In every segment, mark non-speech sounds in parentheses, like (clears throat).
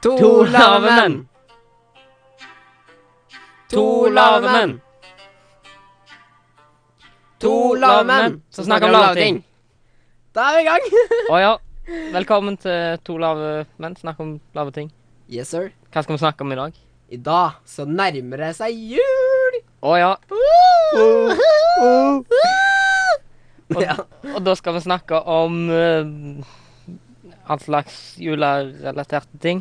To To lave menn. To lave menn. To lave menn som snakker om lavting. Da er vi i gang. (laughs) Å ja. Velkommen til To lave menn snakker om lave ting. Yes, sir. Hva skal vi snakke om i dag? I dag så nærmer det seg jul. (laughs) Å ja. Og, Ja. og da skal vi snakke om uh, all slags julerelaterte ting.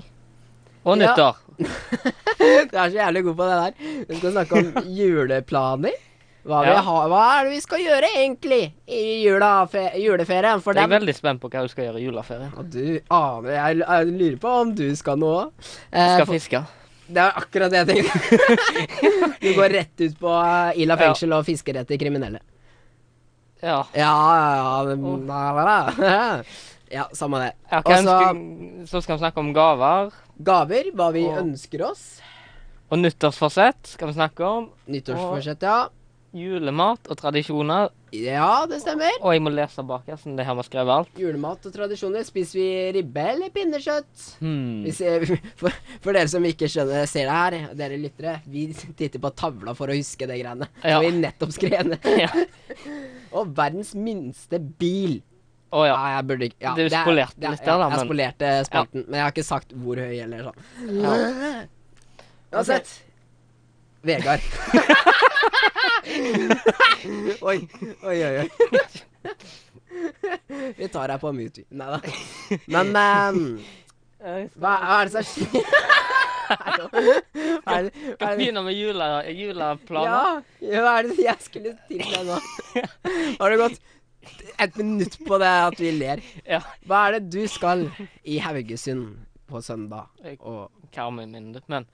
Og Ja. nyttår. Jeg er så jævlig god på det der. Vi skal (laughs) snakke om juleplaner. Hva, vi Ja. har, hva er det vi skal gjøre egentlig i julafe, juleferien? For Jeg er dem veldig spent på hva du skal gjøre i juleferien. Og du aner jeg, jeg lurer på om du skal nå òg. Du Eh, skal for- fiske. det er akkurat det jeg tenkte. du går rett ut på eh, Ila Ja. fengsel og fisker etter kriminelle. Ja. Ja, ja, ja, Og- men- la, la, la. (laughs) ja samme det. Ja, hva Og så ønsker- så skal vi snakke om gaver. gaver, hva vi Og- ønsker oss. Og nyttårsforsett skal vi snakke om. Nyttårsforsett, ja. Julemat og tradisjoner. Ja, det stemmer. Og jeg må lese bak her, siden det her var skrevet alt. Julemat og tradisjoner. Spiser vi ribbe eller pinnekjøtt? Hmm. Vi ser, (laughs) for, for dere som ikke skjønner, ser det her, dere lyttere, vi titter på tavla for å huske det greiene. Ja. Som vi nettopp skrev ned. (laughs) Ja. Og verdens minste bil. Å ja. Ja, jeg burde ikke ja, Du det er- spolerte det er- litt der, da, Ja, jeg men- spolerte spalten, men jeg har ikke sagt hvor høy eller sånn. Uansett. Vegard. (laughs) oi, oi, oi. oi. Vi tar deg på mute. Nei da. Men ehm, Jeg hva, hva er det som (laughs) skjer? Hva er det, hva er skal det, begynne med jule, juleplaner. ja, ja, hva er det jeg skulle til deg nå? Har det gått et minutt på det at vi ler? Ja. Hva er det du skal i Haugesund på søndag? Og Karmøy, mener du. Men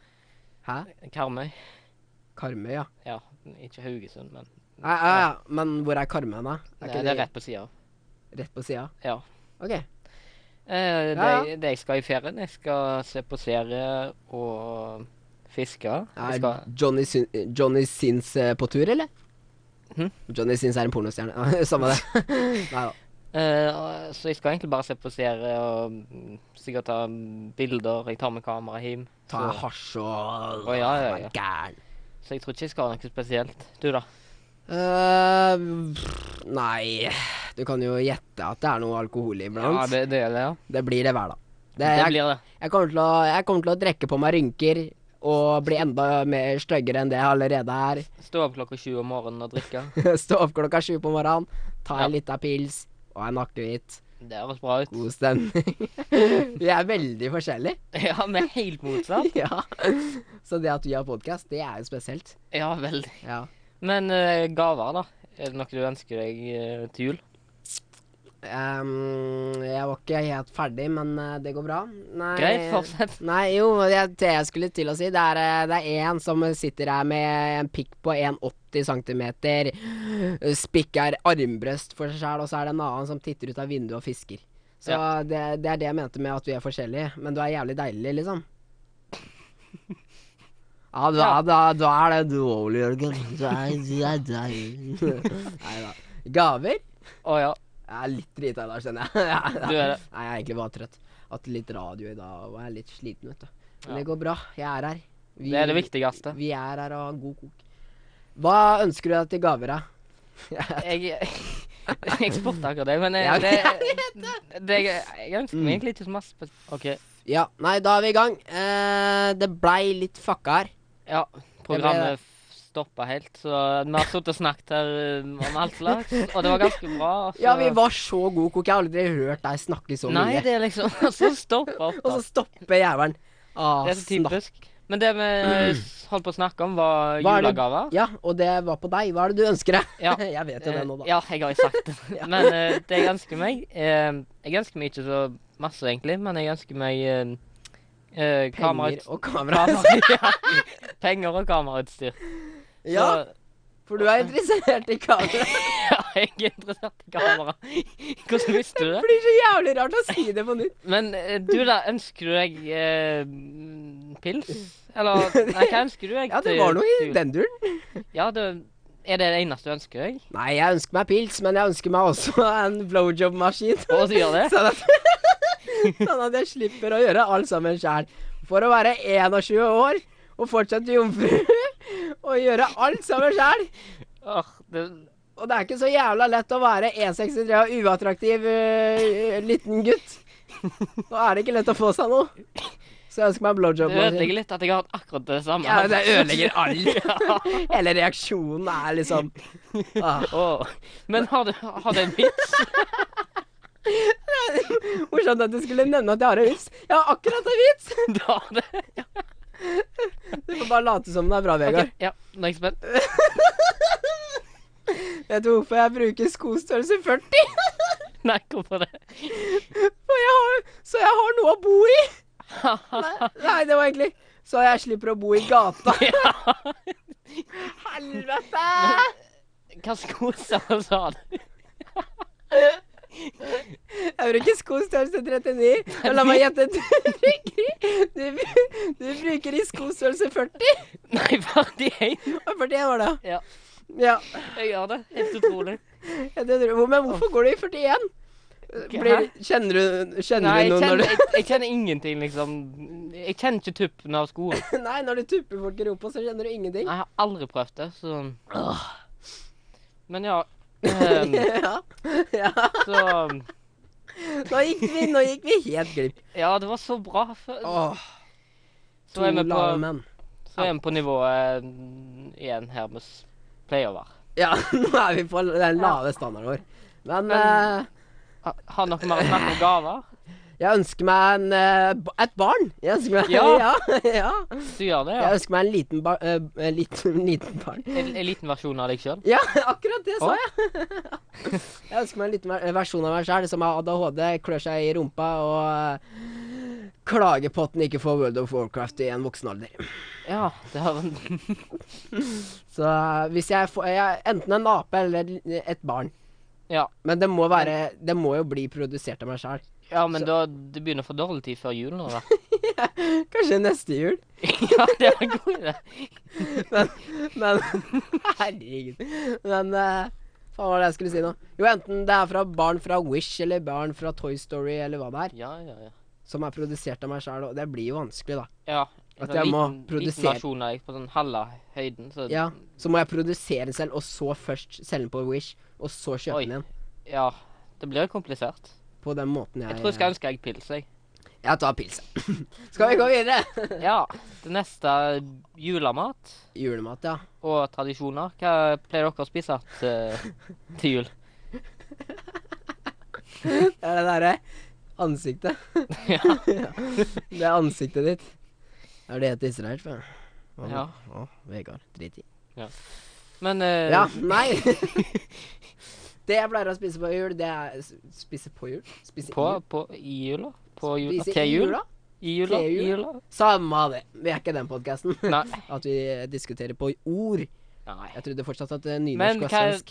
Hæ? Karmøy Karmøy, ja. Ja, ikke Haugesund, men Nei, ja, ja. Men hvor er Karmøy, da? Er Nei, det er rett på sida. rett på sida? Ja. OK. Eh, det, Ja, det jeg skal i ferien, jeg skal se på serie og fiske. Jeg Er skal Johnny, Sin Johnny Sins eh, på tur, eller? Hm? Johnny Sins er en pornostjerne. (laughs) Samme det. Nei da. Eh, så jeg skal egentlig bare se på serie og mm, sikkert ta mm, bilder. Jeg tar med kamera hjem. Ta Så, hasj og Å, ja, ja, Vær ja. Gæren. så jeg tror ikke jeg skal ha noe spesielt. Du, da? Eh, pff, nei Du kan jo gjette at det er noe alkohol iblant. Ja, det, det, det er det, ja. blir det hver dag. Det, Det jeg, blir det. Jeg kommer til å, jeg kommer til å drekke på meg rynker og bli enda mer styggere enn det jeg allerede er. (laughs) Stå opp klokka sju om morgenen og drikke. Stå opp klokka sju på morgenen, ta Ja. en lita pils og en akevitt. Det høres bra ut. God stemning. (laughs) vi er veldig forskjellige. (laughs) Ja, vi er helt motsatt. (laughs) Ja. Så det at vi har podkast, det er jo spesielt. Ja, veldig. Ja. Men eh, gaver, da? Er det noe du ønsker deg eh, til jul? Ehm, jeg var ikke helt ferdig, men eh, det går bra. Nei, Greit, fortsett. Nei, jo, jeg, det jeg skulle til å si, det er, eh, det er en som sitter her med en pikk på 1,80 cm, spikker armbrøst for seg sjæl, og så er det en annen som titter ut av vinduet og fisker. Så det, det er det jeg mente med at vi er forskjellige, men du er jævlig deilig, liksom. (laughs) Ja, du er, Ja. da, da er det du òg, Jørgen. Du er, du er (laughs) deilig. Nei da. Gaver? Å ja. Jeg er litt drita i dag, skjønner jeg. (laughs) Du er det. Nei, jeg er egentlig bare trøtt. Hatt litt radio i dag og jeg er litt sliten, vet du. Men Ja. det går bra. Jeg er her. Vi- Det er det viktigste. Vi er her og har god kok. Hva ønsker du deg til gaver, da? Jeg, (laughs) jeg spurte akkurat deg, (laughs) men Ja, jeg, det, det, jeg, jeg ønsker Mm. meg egentlig ikke så masse spes- OK. Ja, nei, da er vi i gang. Eh, det blei litt fucka her. Ja, programmet stoppa helt, så vi har sittet og snakket her eh, om alt slags, og det var ganske bra. og så- Ja, vi var så god kok. Jeg har aldri hørt deg snakke så Nei, mye. det er liksom (laughs) Og så stoppa opp, Og da. så stopper jævelen. Ah, Det er så snakk. typisk. Men det vi holdt på å snakke om, Hva var er det- julegaver. Ja, og det var på deg. Hva er det du ønsker deg? Ja. (laughs) jeg vet jo det nå, da. Eh, Ja, jeg har jo (laughs) sagt det. Men eh, det jeg ønsker meg eh, Jeg ønsker meg ikke så masse, egentlig, men jeg ønsker meg eh, eh, Penger kamerautstyr. og kamera. Kamera, (laughs) ja. Penger og kamerautstyr. (laughs) Ja, Så, for du er interessert i kamera. (laughs) ja, jeg er interessert i kamera. Hvordan visste du Det det? blir så jævlig rart å si det på nytt. Men eh, du, da, ønsker du deg eh, pils? Eller Nei, hva ønsker du deg? Ja, det til- var noe i til jul? den duren. Ja, det er det det eneste du ønsker deg? Nei, (laughs) jeg ønsker meg pils, men jeg ønsker meg også en blowjob-maskin. (laughs) Å, du gjør det? Sånn at (laughs) Sånn at jeg slipper å gjøre alt sammen sjæl. For å være 21 år og fortsatt jomfru (laughs) og gjøre alt sammen sjæl. Åh, det, Og det er ikke så jævla lett å være 1,63 og uattraktiv øh, liten gutt. Nå er det ikke lett å få seg noe. Så jeg ønsker meg en det blowjob. ødelegger litt at jeg har hatt akkurat det samme. Ja, det (laughs) ødelegger alt. Ja. Hele reaksjonen er liksom ah. Åh. Men har du har det en vits? (laughs) Morsomt at du skulle nevne at jeg har en vits. Jeg har akkurat en vits! Du har det? Ja. Du får bare late som den er bra, ok, Vegard. ja, nå er jeg spent. Vet du hvorfor jeg bruker skostørrelse 40? Nei, (laughs) hvorfor det? For jeg har, så jeg har noe å bo i! Nei, nei, det var egentlig Så jeg slipper å bo i gata. Ja. Helvete! Hva skoser sa du? Jeg bruker skostørrelse 39. Men la meg gjette. Du bruker, du, br- du bruker i skostørrelse 40. Nei, ferdig én. Og 41 var det. Ja, Ja. jeg gjør det. Helt utrolig. jeg tror- hvor- Men hvorfor går du i 41? Blir, kjenner du, kjenner du Nei, jeg noen når kjenner, du jeg, jeg kjenner ingenting, liksom. Jeg kjenner ikke tuppen av skoen. (laughs) Nei, når du tupper folk i rumpa, så kjenner du ingenting. Jeg har aldri prøvd det, så Men ja. (laughs) ehm, ja. ja. Så Nå gikk vi, nå gikk vi helt glipp. Ja, det var så bra. før. Åh, Så to er vi på, lave menn. så er vi på nivået mm, igjen her vi s- pleier å være. Ja, (laughs) nå er vi på den lave standarden vår. Men Men- eh, Ha- Har dere mer å snakke om gaver? jeg ønsker meg en, eh, ba- et barn. Jeg ønsker meg, Ja. (laughs) ja, ja. Du gjør det, ja? Jeg ønsker meg en liten, bar eh, en liten, (laughs) liten barn. En, en liten versjon av deg sjøl? Ja, (laughs) akkurat det sa Å. jeg. Jeg (laughs) ønsker meg en liten ver- versjon av meg sjæl som har ADHD, klør seg i rumpa og eh, klager på at den ikke får World of Warcraft i en voksen alder. Ja. Det har, Så eh, hvis jeg får jeg, Enten en ape eller et barn. ja. Men det må være Det må jo bli produsert av meg sjæl. (laughs) ja, men da det begynner for dårlig tid før jul nå, da. (laughs) (laughs) Kanskje neste jul. Ja, det var en god (laughs) idé. Men, men (laughs) Herregud. Men eh, faen hva var det jeg skulle si nå? Jo, enten det er fra barn fra Wish eller barn fra Toy Story eller hva det er, Ja, ja, ja. som er produsert av meg sjæl, og det blir jo vanskelig, da. ja. At en jeg må liten- Liten produsere- versjon av deg på sånn halve høyden. Så, Ja, Så må jeg produsere den selv, og så først selge den på Wish, og så kjøpe Oi. den igjen. ja. Det blir komplisert. På den måten jeg Jeg tror jeg skal ønske jeg pils, jeg. Jeg tar pils. (clears throat) skal vi gå videre? Ja. Det neste er julemat. Julemat, ja. og tradisjoner. Hva pleier dere å spise til, til jul? (laughs) Det er det derre ansiktet. Ja. Det er ansiktet ditt. Det er det heter israelsk, vet du. Å, Ja. å, Vegard. Drit i. Men eh, Ja, nei. (laughs) det jeg pleier å spise på jul, det er s- Spise på jul? Spise på, i jul? på i jula? På jula? Spise Til i jul? jula? I jula? Til I jul? jula? Samme av det. Vi er ikke den podkasten. Nei. At vi eh, diskuterer på ord. Nei. (laughs) Jeg trodde fortsatt at eh, Men nynorsk var hva- svensk.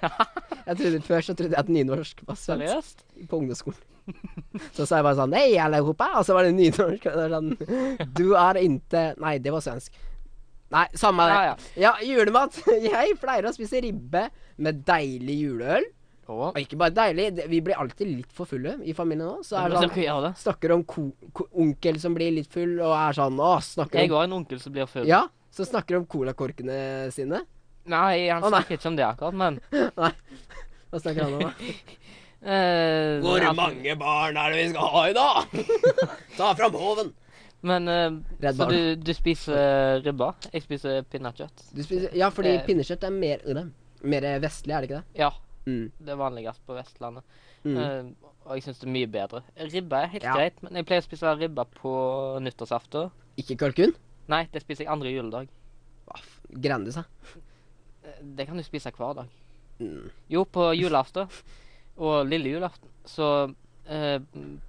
(laughs) Jeg trodde Før så trodde jeg at nynorsk var svensk Seriøst? på ungdomsskolen. (laughs) Så sa jeg bare sånn Hei, alle hopa. Og så var det nynorsk. Og det var sånn Du er inte Nei, det var svensk. Nei, samme av det. Ja, Ja, julemat. (laughs) Jeg pleier å spise ribbe med deilig juleøl. Å. Og ikke bare deilig, det- vi blir alltid litt for fulle i familien nå. Så er Men det sånn, Dere gjør det. snakker om ko, ko, onkel som blir litt full, og er sånn Å, snakker Jeg om har en onkel som blir full. Ja, så snakker om colakorkene sine. (laughs) Nei, han Å, nei. snakker ikke om det akkurat, men Hva snakker han om, da? eh, at- barn er det vi skal ha i dag? (laughs) Ta fram håven. Men eh, Redd Så barn. du, du spiser eh, ribba? Jeg spiser pinnekjøtt. Du spiser, ja, fordi Eh. pinnekjøtt er mer, øh, mer vestlig, er det ikke det? Ja. Mm. Det er vanligst på Vestlandet. Mm. Eh, og jeg syns det er mye bedre. Ribbe er helt Ja. greit, men jeg pleier å spise ribba på nyttårsaften. Ikke kalkun? Nei, det spiser jeg andre juledag. Hva f- Grandis, (laughs) da. Eh, Det kan du spise hver dag. Mm. Jo, på julaften og lille julaften så eh,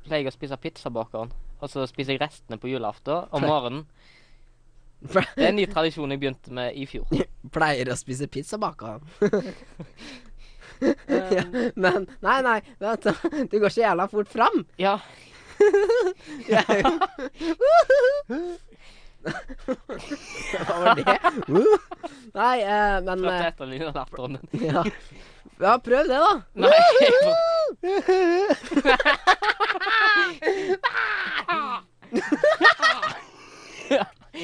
pleier jeg å spise pizzabakeren. Og så spiser jeg restene på julaften om morgenen. Det er en ny tradisjon jeg begynte med i (laughs) fjor. Pleier å spise pizza baka. (laughs) ja, Eh, men Nei, nei, vent, (laughs) du går så jævla fort (laughs) fram. (laughs) ja. Jeg er jo (laughs) Hva var det? Uh. Nei, eh, men Prøvde å eh, etterligne latteren din. ja. (laughs) ja, prøv det, da. (laughs) Nei. jeg må-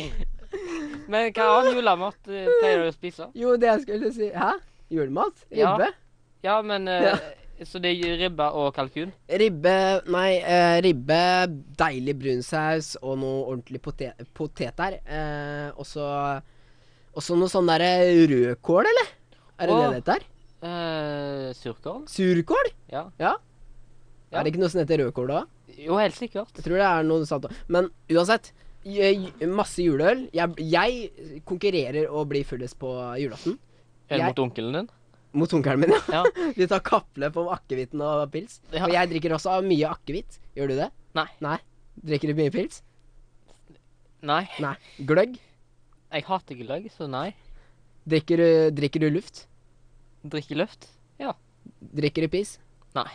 hva annen julemat eh, pleier du å spise? Jo, det jeg skulle si Hæ? Julemat? Ja. Ribbe? Ja, men eh, Så det er ribbe og kalkun? Ribbe Nei, eh, ribbe, deilig brunsaus og noe ordentlig potet, potet der. Eh, og så Og så noe sånn derre rødkål, eller? Er det Åh. det det heter? Eh, surkål? Surkål? Ja. Ja. Er det ikke noe som heter rødkål da? Jo, helt sikkert. Jeg tror det er noe sånt. Men uansett. j- j- Masse juleøl. Jeg, jeg konkurrerer å bli fullest på julaften. Er det Jeg- mot onkelen din? Mot onkelen min, ja. Ja. (laughs) De tar kappløp om akevitten og pils. Ja. Og jeg drikker også mye akevitt. Gjør du det? Nei. Nei? Drikker du mye pils? Nei. Nei. Gløgg? Jeg hater gløgg, så nei. Drikker du, drikker du luft? Drikke løft? Ja. Drikker du pis? Nei.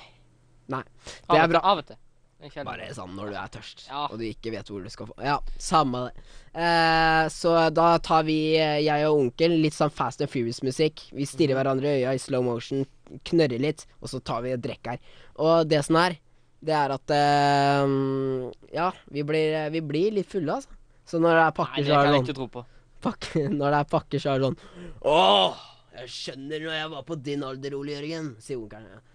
Nei. Av er og til- bra. Av og til. Men sjelden. Bare sånn når du er tørst Ja. og du ikke vet hvor du skal få Ja, samme det. Eh, så da tar vi, eh, jeg og onkel, litt sånn Fast and Furious-musikk. Vi stirrer hverandre i øya i slow motion, knørrer litt, og så tar vi et drekk her. Og det som er, det er at eh, Ja, vi blir, vi blir litt fulle, altså. Så når det er Nei, pakker, det så er kan det jeg sånn ikke tro på. pakke, (laughs) når det er pakker, så er det sånn Åh, jeg skjønner når jeg var på din alder, Ole Jørgen, sier onkelen.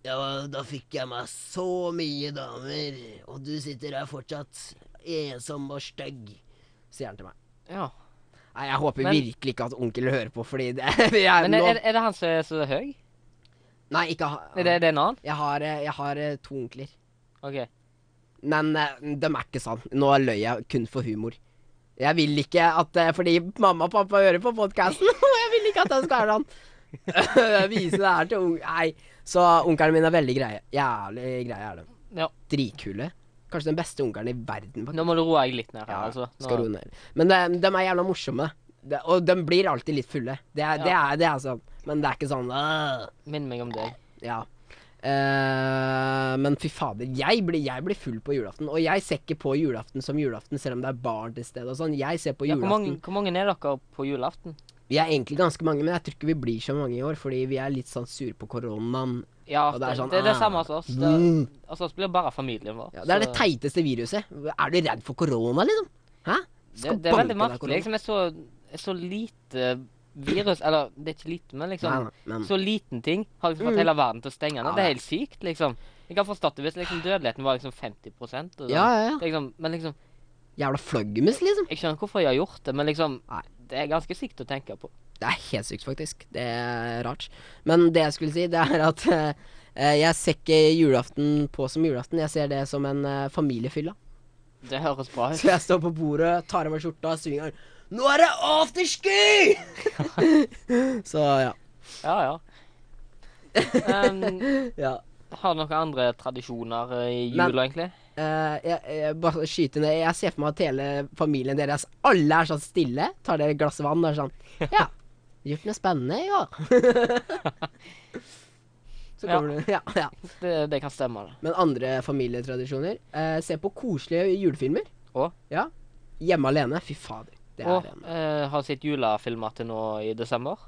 Ja, da fikk jeg meg så mye damer, og du sitter her fortsatt ensom og stygg, sier han til meg. Ja. Nei, jeg håper Men- virkelig ikke at onkel hører på, fordi det vi er (laughs) Men er, nå er, er det han som er så høy? Nei, ikke ha... Er det, er det en annen? Jeg har, eh, jeg har eh, to onkler. OK. Men eh, dem er ikke sann. Nå løy jeg kun for humor. Jeg vil ikke at eh, Fordi mamma og pappa hører på podkasten, (laughs) og jeg vil ikke at den skal være sånn. (laughs) Jeg Viser det her til ung... Nei. Så onklene mine er veldig greie. Jævlig greie er de. Ja. Dritkule. Kanskje den beste onkelen i verden. faktisk. Nå må du roe deg litt ned her, Ja, altså. Nå, skal roe ned. Men eh, de, de er jævla morsomme. De, og de blir alltid litt fulle. Det er, det er, det er sånn. Men det er ikke sånn «Åh». Minn meg om deg. Ja. Eh, men fy fader, jeg blir, jeg blir full på julaften. Og jeg ser ikke på julaften som julaften, selv om det er barn til stede og sånn. Jeg ser på Ja, hvor, mange, julaften. hvor mange er dere på julaften? Vi er egentlig ganske mange, men jeg tror ikke vi blir så mange i år, fordi vi er litt sånn sure på koronaen. Ja, Og det, det er sånn, det, er ah, det samme hos oss. Det, mm. hos oss blir det bare familien vår. Ja, det er det så- teiteste viruset. Er du redd for korona, liksom? Hæ? det, Skal det er banke veldig deg merkelig. Liksom, jeg så, jeg så lite virus Eller, det er ikke lite, men liksom korona. Nei, nei, men Så liten ting har liksom fått Mm. hele verden til å stenge ned. Ja, det er det- helt sykt, liksom. Jeg kan forstått det hvis liksom, dødeligheten var liksom 50 og sånn. Ja, ja, ja. Det er liksom, Men liksom Jævla flaggermus, liksom. Jeg skjønner hvorfor jeg har gjort det, men liksom Nei. Det er ganske sykt å tenke på. Det er helt sykt, faktisk. Det er rart. Men det jeg skulle si, det er at eh, jeg ser ikke julaften på som julaften. Jeg ser det som en eh, familiefylla. Det høres bra (laughs) ut. Så jeg står på bordet, tar av meg skjorta og synger Nå er det afterski! (laughs) Så ja. Ja, ja. Um, ja. har du noen andre tradisjoner eh, i Men- jula, egentlig? Eh, jeg, jeg, bare skyter ned. Jeg ser for meg at hele familien deres alle er sånn stille. Tar dere et glass vann og er sånn Ja, gjort noe spennende i år. (laughs) Så Ja. kommer du (laughs) Ja, ja. Det, det kan stemme, det. Men andre familietradisjoner eh, Se på koselige julefilmer. Å? Ja. Hjemme alene. Fy fader. Det er Og en eh, har sett julefilmer til nå i desember?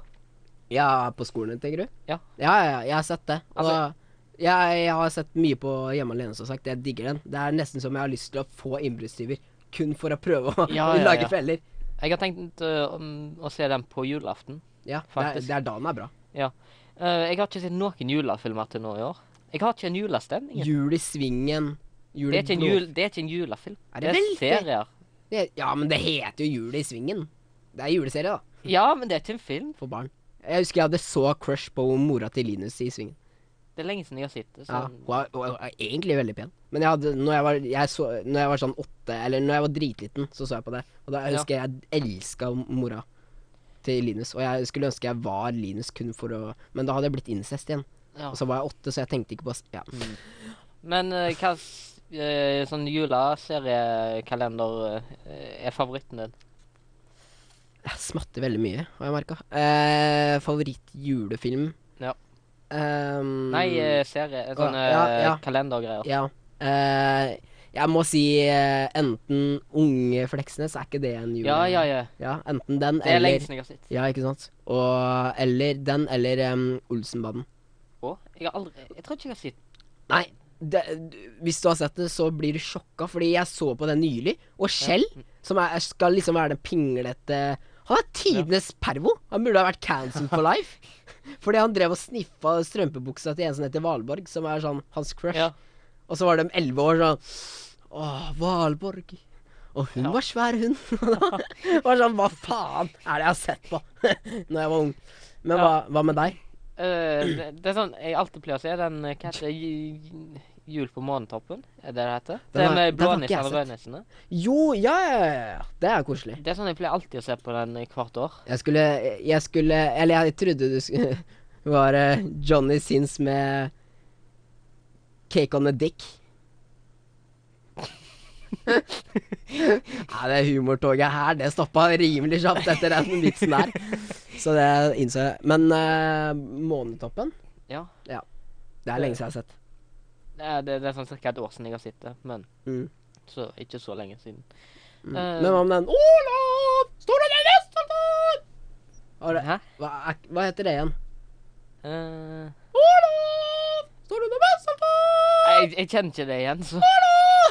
Ja, på skolen, tenker du? Ja. Ja, ja, ja, jeg har sett det. Og Altså- jeg, jeg har sett mye på Hjemme alene, som sagt. Jeg digger den. Det er nesten som jeg har lyst til å få innbruddstyver. Kun for å prøve å (laughs) Ja, ja, lage ja. feller. Jeg har tenkt eh, om å se den på julaften. Ja, det er, Faktisk. det er da den er bra. Eh, jeg har ikke sett noen julefilmer til nå i år. Jeg har ikke en julestemning. Jul i svingen. Jul i Det er ikke en, blå- jul, det er ikke en julefilm. Er det vel? serier. Det- Ja, men det heter jo Jul i svingen. Det er juleserie, da. Ja, men det er ikke en film. For barn. Jeg husker jeg hadde så crush på mora til Linus i svingen. Det er lenge siden jeg har sett det. Ja, Så hun er, hun er- hun er egentlig veldig pen. Men jeg hadde, når, jeg var, jeg så, når jeg var sånn åtte, eller når jeg var dritliten, så så jeg på det. Og da jeg Ja. husker jeg jeg elska mora til Linus. Og jeg skulle ønske jeg var Linus kun for å Men da hadde jeg blitt incest igjen. ja. Mm. Og så var jeg åtte, så jeg tenkte ikke på s- ja. Men eh, hva s- eh, sånn juleseriekalender eh, er favoritten din? Jeg smatter veldig mye, har jeg merka. Eh, Favorittjulefilm Ja. Ehm, Nei, eh, serie eh, Å, Sånne ja, eh, ja. kalendergreier. Ja. Eh, jeg må si eh, enten Unge Fleksnes, er ikke det en jule...? Ja, ja, ja. ja enten den Det er eller lenge siden jeg har sett. Ja, ikke sant? Og Eller den, eller em, Olsenbanden. Å, jeg har aldri Jeg tror ikke jeg har sett Nei, det, Hvis du har sett det, så blir du sjokka, fordi jeg så på den nylig. Og Kjell, som er, skal liksom være den pinglete Han er tidenes pervo! Han burde ha vært cancelled (laughs) for life. Fordi han drev og sniffa strømpebuksa til en som heter Valborg, som er sånn hans crush. Ja. Og så var de elleve år sånn Åh, Valborg. Og hun Ja. var svær, hun. (laughs) Og da var det sånn Hva faen er det jeg har sett på (laughs) når jeg var ung? Men hva, Ja. hva med deg? Eh, det, det er sånn jeg alltid pleier å se den eh, Hva heter det? Ju- Jul på månetoppen? Er det det heter? Det har- med den har ikke jeg blånissene og sett. rødnissene. Jo, ja, ja, ja, ja. Det er koselig. Det er sånn jeg pleier alltid å se på den eh, hvert år. Jeg skulle Jeg skulle Eller jeg trodde du skulle (laughs) var eh, Johnny Sins med Cake on a (laughs) dick. Nei, det humortoget her, det stoppa rimelig kjapt etter den vitsen der. Så det innså jeg. Men eh, Månetoppen, Ja. det er lenge siden jeg har sett. Det er, det, det er sånn cirka et år siden jeg har sett det, men Mm. så, ikke så lenge siden. Mm. Eh, Men hva med den Olav! Står det Vesterland? Har det- Hæ? Hva, er- hva heter det igjen? Eh, Olav! Står du Vesterland? (laughs) jeg, jeg kjenner ikke det igjen, så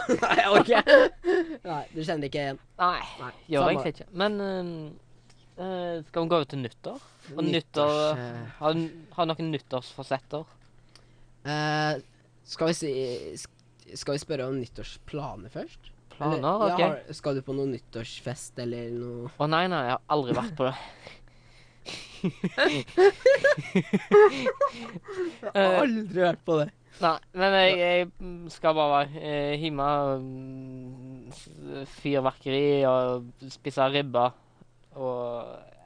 Nei, ok. (laughs) Nei, du kjenner ikke igjen. Nei. Nei, Gjør samme. egentlig ikke. Men eh, eh, skal vi gå over til nyttår? Og nyttår Nyttårs, eh, eh, har, har noen nyttårsforsetter? eh, skal vi si sk- Skal vi spørre om nyttårsplaner først? Eller- ja, Planer? OK. Å har- skal du på noen nyttårsfest eller noe? nei, nei, jeg har aldri vært på det. Jeg har aldri hørt på det. (laughs) Nei, men jeg, jeg mm, skal bare være eh, hjemme og mm, s- fyrverkeri og spise ribbe. Og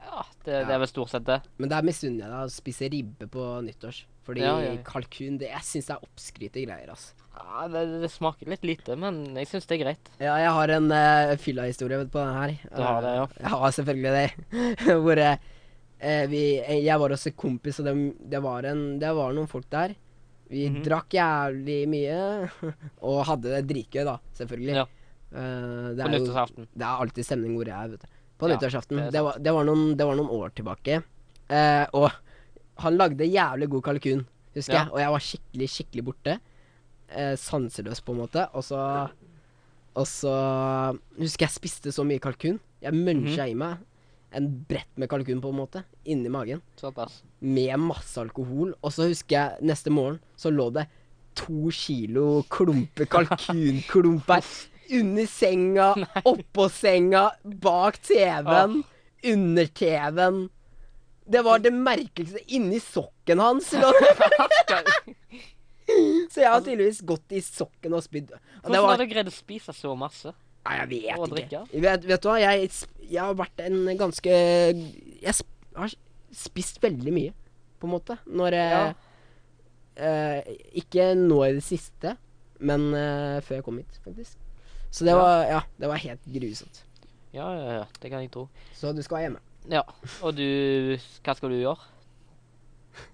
ja, det, det er vel stort sett det. Men der misunner jeg deg å spise ribbe på nyttårs. Fordi Ja, ja, ja. kalkun det, Jeg syns det er oppskrytte greier, altså. Ja, det, det smaker litt lite, men jeg syns det er greit. Ja, jeg har en uh, fyllahistorie på den her. Du har det, ja. Jeg har selvfølgelig det. (laughs) Hvor eh, eh, vi eh, Jeg var hos en kompis, og dem, det, var en, det var noen folk der. Vi Mhm. drakk jævlig mye, (laughs) og hadde det dritgøy, da. Selvfølgelig. Ja. Eh, det, På er jo, nyttårsaften. det er alltid stemning hvor jeg er, vet du. På Ja, nyttårsaften. det er Det, var, det, var noen, det var noen år tilbake. Eh, og han lagde jævlig god kalkun, husker Ja. jeg. Og jeg var skikkelig, skikkelig borte. Eh, sanseløs, på en måte. Og så Og så husker jeg spiste så mye kalkun. Jeg muncha Mhm. i meg en brett med kalkun, på en måte, inni magen. (laughs) Såpass. Med masse alkohol. Og så husker jeg neste morgen så lå det to kilo klumper (laughs) kalkunklumper under senga, oppå senga, bak TV-en, under TV-en. Det var det merkeligste. Inni sokken hans lå (laughs) det. Så jeg har tydeligvis gått i sokken og spydd. Og det Hvordan var- har du greid å spise så masse? Nei, jeg vet Og ikke. drikke. Vet, vet du hva, jeg, sp- jeg har vært en ganske Jeg sp har spist veldig mye, på en måte. Når jeg Ja. eh, Ikke nå i det siste, men eh, før jeg kom hit, faktisk. Så det Ja. var Ja, det var helt grusomt. Ja, ja, ja, det kan jeg tro. Så du skal være hjemme. Ja, og du Hva skal du gjøre?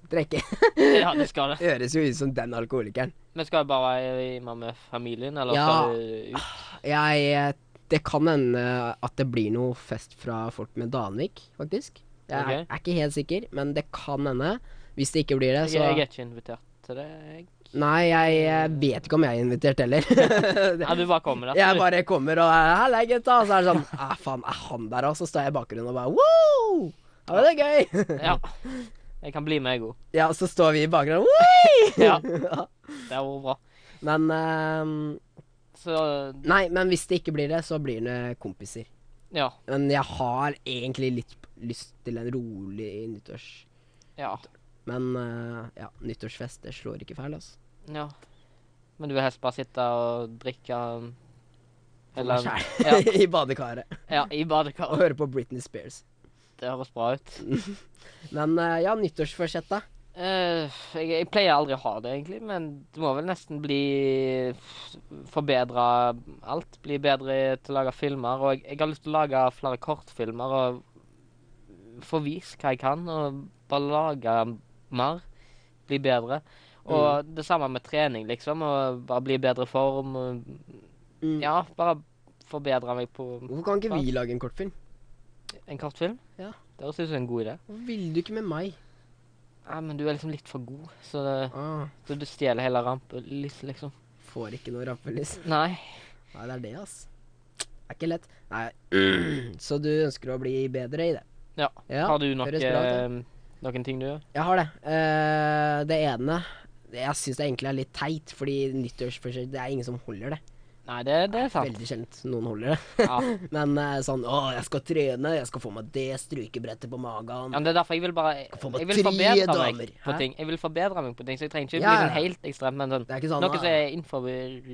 Drikke. (laughs) Ja, du skal det. Høres jo ut som den alkoholikeren. Men skal du bare være hjemme med familien, eller Ja. skal du ut? Jeg eh, Det kan hende at det blir noe fest fra folk med Danvik, faktisk. Jeg er, Ok. er ikke helt sikker, men det kan hende. Hvis det ikke blir det, Jeg, så jeg er ikke invitert til det. jeg. Nei, jeg eh, vet ikke om jeg er invitert heller. Det- Ja, du bare kommer (laughs) der. jeg bare kommer og er 'Halla, gutta', og så er det sånn 'Æ, faen, er han der?' Og så står jeg i bakgrunnen og bare 'Wow!' Ja, men det er gøy. (laughs) Ja. Jeg kan bli med, jeg òg. Ja, så står vi i bakgrunnen Woi! Ja. Det er jo bra. Men ehm, Så Nei, men hvis det ikke blir det, så blir det kompiser. ja. Men jeg har egentlig litt lyst til en rolig nyttårs... Ja. Men eh, ja, nyttårsfest, det slår ikke feil, altså. ja. Men du vil helst bare sitte og drikke um, For Eller meg selv. ja, (laughs) I badekaret. ja, i Og badekaret. høre på Britney Spears. Det høres bra ut. Men eh, ja, nyttårsforsett, da. Eh, jeg, jeg pleier aldri å ha det, egentlig, men det må vel nesten bli f- Forbedre alt. Bli bedre til å lage filmer. Og jeg, jeg har lyst til å lage flere kortfilmer og få vist hva jeg kan, og bare lage mer. Bli bedre. Og det samme med trening, liksom. Og bare bli i bedre form. Og, Mm. ja, bare forbedre meg på Hvorfor kan ikke vi lage en kortfilm? en kortfilm. Ja. Det høres ut som en god idé. Hvorfor ville du ikke med meg? Nei, men du er liksom litt for god, så, Ah, så du stjeler hele rampen, liksom. får ikke noe rampelys. Nei. Nei, det er det, ass. Det er ikke lett. Nei. (clears throat) Så du ønsker å bli bedre i det? Ja. Ja, Har du høres noe, bra eh, noen ting du gjør? Jeg har det. Eh, det ene det- Jeg syns det egentlig er litt teit, fordi nyttårsforsett Det er ingen som holder det. Nei, det, det er sant. Veldig sjelden noen holder det. (laughs) Ja. ja, Men eh, sånn Å, jeg skal trene, jeg skal få meg det strykebrettet på magen. men Det er derfor jeg vil bare Jeg, Få meg vil tre forbedre damer. meg på Hæ? ting. Jeg vil forbedre meg på ting, så jeg trenger ikke Ja, ja. bli sånn helt ekstrem, men sånn, Det er ikke sånn, noe da. som er innenfor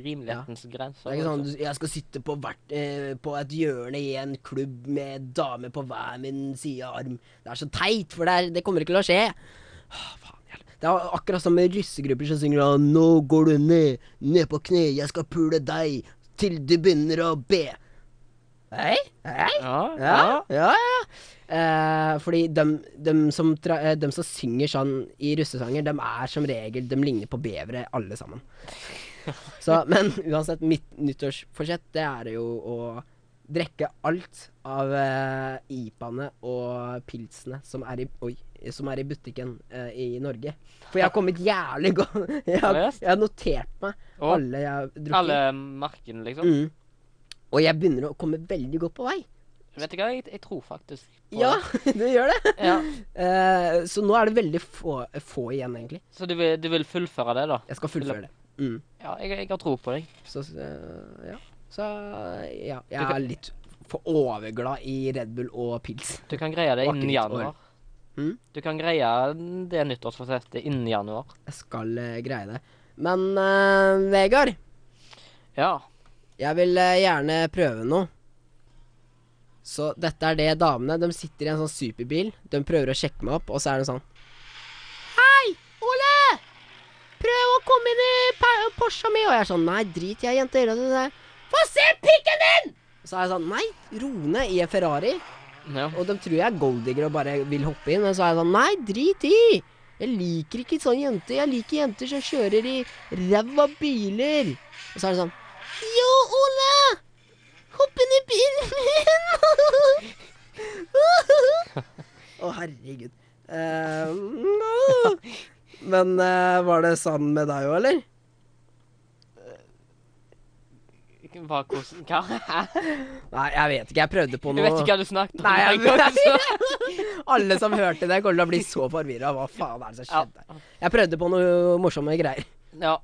rimelighetens grenser. Det er ikke sånn altså. du- jeg skal sitte på, hvert, eh, på et hjørne i en klubb med damer på hver min side av arm. Det er så teit, for det, er, det kommer ikke til å skje. Åh, faen, jævla. det er akkurat som med russegrupper som synger sånn Nå går du ned, ned på kne, jeg skal pule deg til du begynner å be. Hei? Hei? Ja, Ja, ja. ja, ja. Eh, fordi dem, dem, som tra eh, dem som synger sånn i russesanger, dem er som regel De ligner på bevere, alle sammen. Så, men (laughs) uansett, mitt nyttårsforsett, det er jo å drikke alt av eh, IPA-ene og pilsene som er i, oi, som er i butikken eh, i Norge. For jeg har kommet jævlig godt (laughs) Jeg har, Seriøst? jeg har notert meg Og alle jeg har drukket. alle markene, liksom. Mm. Og jeg begynner å komme veldig godt på vei. Vet du hva, jeg, jeg tror faktisk på Mm. Ja, (laughs) det. du gjør det. Ja. Eh, så nå er det veldig få, få igjen, egentlig. Så du vil, du vil fullføre det, da? Jeg skal fullføre det. Mm. Ja, jeg, jeg har tro på deg. Så eh, ja. Så ja, jeg Du kan- er litt for overglad i Red Bull og pils. Du kan greie det innen Vakkert januar. Mm. Du kan greie det nyttårsforsettet innen januar. Jeg skal eh, greie det. Men eh, Vegard, Ja. jeg vil eh, gjerne prøve noe. Så dette er det damene De sitter i en sånn superbil. De prøver å sjekke meg opp, og så er det sånn Hei, Ole! Prøv å komme inn i pa- Porscha mi! Og jeg er sånn Nei, drit jeg, jenter. Og så sier jeg, Få se pikken din! Så er jeg sånn Nei, ro ned i en Ferrari. ja. Og de tror jeg er golddigger og bare vil hoppe inn. Men så er jeg sånn Nei, drit i! Jeg liker ikke sånne jenter. Jeg liker jenter som kjører i ræva biler. Og så er det sånn Jo, Ole! Hopp inn i bilen min! Å, herregud. Eh, no. (laughs) Men eh, var det sånn med deg òg, eller? Hva, hvordan, hva? (laughs) Hæ? Nei, jeg vet ikke. Jeg prøvde på Du noe vet ikke hva du snakket om? Nei, jeg engang, så- (laughs) Alle som hørte det, kommer til å bli så forvirra. Hva faen er det som Ja. skjedde? Jeg prøvde på noe morsomme greier. ja.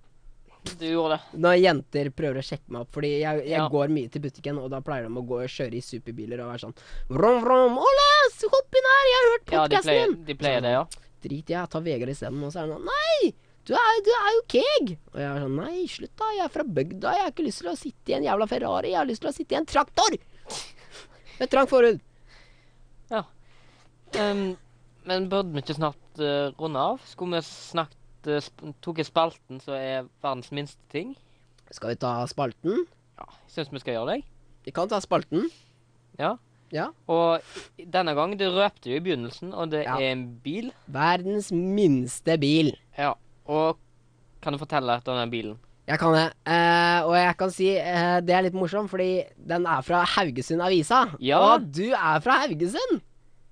Du gjorde det. Når jenter prøver å sjekke meg opp, fordi jeg, jeg Ja. går mye til butikken, og da pleier de å gå og kjøre i superbiler og være sånn Vrom, vrom, Ole, s- hopp inn her, jeg har hørt Ja, de podkasten pleier, din! de pleier det, ja. Drit i, jeg tar Vegard isteden. Og så er han sånn Nei, du er, du er jo keeg! Og jeg er sånn Nei, slutt, da. Jeg er fra bygda. Jeg har ikke lyst til å sitte i en jævla Ferrari. Jeg har lyst til å sitte i en traktor! Med trang forhud. Ehm, men burde vi ikke snart eh, runde av? Skulle vi snakket uh, sp Tok jeg spalten som er verdens minste ting? Skal vi ta spalten? Ja, jeg syns vi skal gjøre det. jeg. Vi kan ta spalten. Ja. Ja. Og i- denne gang, du røpte jo i begynnelsen, og det Ja. er en bil. Verdens minste bil. Ja. Og kan du fortelle litt om den bilen? Jeg kan det. Eh, og jeg kan si eh, det er litt morsomt, fordi den er fra Haugesund Avisa. Ja. Og du er fra Haugesund!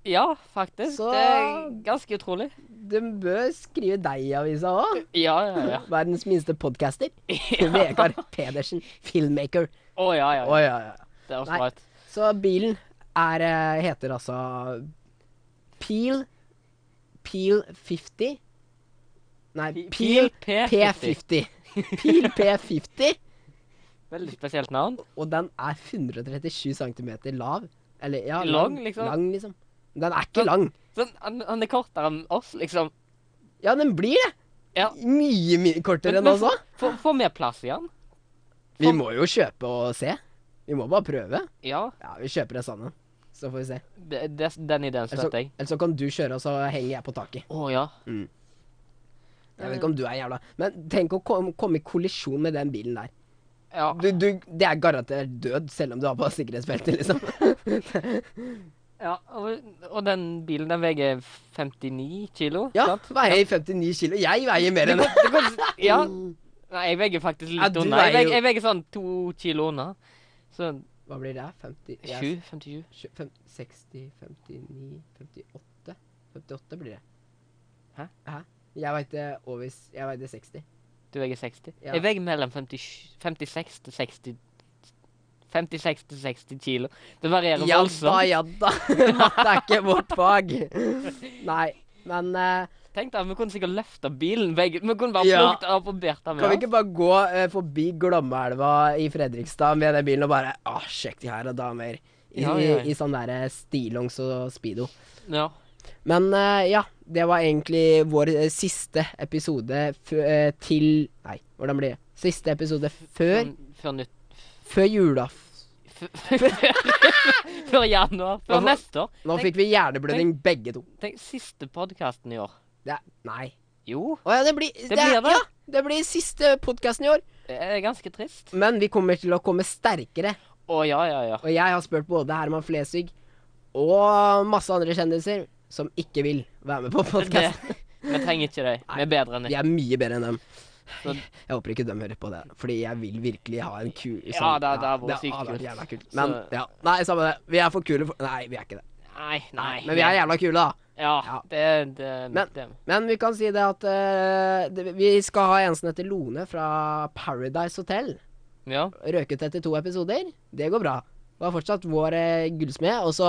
Ja, faktisk. Så- Det er ganske utrolig. Du bør skrive deg i avisa òg. Ja, ja, ja. Verdens minste (laughs) podcaster. Vegard Pedersen, filmmaker. Å, ja, ja. Å, ja, ja. Det er også Nei. bra. ut. Så bilen er, eh, heter altså Peel Peel 50. Nei, Peel P50. Peel P50. Veldig spesielt navn. Og den er 137 cm lav. Eller ja, Lang, liksom? Lang, liksom. Den er ikke Den- lang. Sånn, han, han er kortere enn oss, liksom. Ja, den blir det. Ja. Mye, mye kortere enn Men- oss òg. Får får vi plass i han? Vi må jo kjøpe og se. Vi må bare prøve. Ja, Ja, vi kjøper en sånn en. Så får vi se. det, det, den ideen Eller så, støtter jeg. eller så kan du kjøre, og så henger jeg på taket. Å, ja. Jeg vet ikke om du er jævla Men tenk å kom, komme i kollisjon med den bilen der. Ja. Du, du, det er garantert død, selv om du har på sikkerhetsbeltet, liksom. (laughs) ja. Og, og den bilen, den veier 59 kilo. ja, sant? veier 59 kilo. Jeg veier mer enn det. Det går, ja. Nei, jeg veier faktisk litt Ja, du unna. veier Jeg jo- veier, jeg veier sånn to kilo unna. Så (laughs) Hva blir det? 50 jeg- 7, 57. 25, 60, 59, 58. 58 blir det. Hæ? Jeg veit det over s- Jeg veit det 60. Du veier 60? Ja. Jeg veier mellom 57 56 til 60 56 til 60 kilo. Det varierer Ja da, voldsomt. ja da. (laughs) Matte er ikke vårt fag. (laughs) Nei, men eh, Tenk deg, vi kunne sikkert løfta bilen. Begge. Vi kunne bare Ja. plukket opp og båret kan den vi med. ikke bare gå eh, forbi Glommeelva i Fredrikstad med den bilen og bare Å, sjekk de her, da, damer. I, Ja, ja, ja. i, i sånn derre stillongs og speedo. oss. Ja. Men eh, ja, det var egentlig vår eh, siste episode f eh, til Nei, hvordan blir det? Siste episode før, Sånn Før nytt. før julaf. f- (laughs) f- Før januar. Hva for- Før neste år. Nå Tenk- fikk vi hjerneblødning begge to. Tenk siste podkasten i år. Det er, nei. Jo, Å ja, det blir Det, blir det. Ja, det blir siste podkasten i år. det er ganske trist. Men vi kommer til å komme sterkere. Å ja, ja, ja. Og jeg har spurt både Herman Flesvig og masse andre kjendiser som ikke vil være med på Det, podkasten. vi trenger ikke deg. Vi er bedre enn Vi deg. er mye bedre enn dem. Så- Jeg håper ikke de hører på det, fordi jeg vil virkelig ha en kul sånn- Ja, det- det hadde vært sykt hadde vært kult. jævla kult. Så- Men ja. Nei, samme det. Vi er for kule for Nei, vi er ikke det. Nei, nei. Men vi er jævla kule, da. Ja, Ja. det, det, Men- det. Men vi kan si det at eh, det, vi skal ha en som heter Lone fra Paradise Hotel. Ja. røket etter to episoder. Det går bra. Var fortsatt vår eh, gullsmed. Og så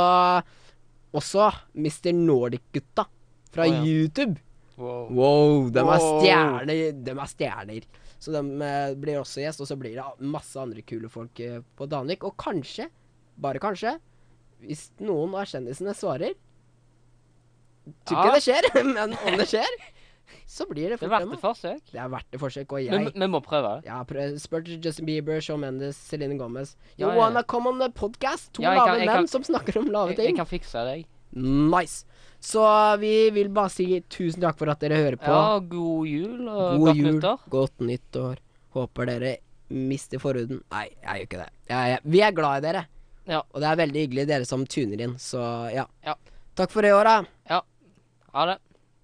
også Mr. Nordic-gutta fra Å, ja. YouTube. Wow. Wow, de er Wow. stjerner. De er stjerner. Så de eh, blir også gjest, og så blir det masse andre kule folk eh, på Danvik. Og kanskje, bare kanskje, hvis noen av kjendisene svarer Tror ikke Ja. det skjer, (laughs) men om det skjer, så blir det Det er fort verdt dem, et da. forsøk. Det er verdt et forsøk, og jeg Men vi må prøve det. ja, prø- spør til Justin Bieber, Shawn Mendes, Celine Gomez. You Ja, ja, ja. wanna come on the podcast? To Ja, jeg lave kan- jeg menn kan- som snakker om lave Jeg, jeg ting. kan fikse deg. Nice. Så vi vil bare si tusen takk for at dere hører på. Ja, god jul og God godt jul, nyttår. godt nyttår. Håper dere mister forhuden. Nei, jeg gjør ikke det. Jeg, jeg, vi er glad i dere. Ja. Og det er veldig hyggelig dere som tuner inn, så ja. Ja. Takk for i år, da. Ha det.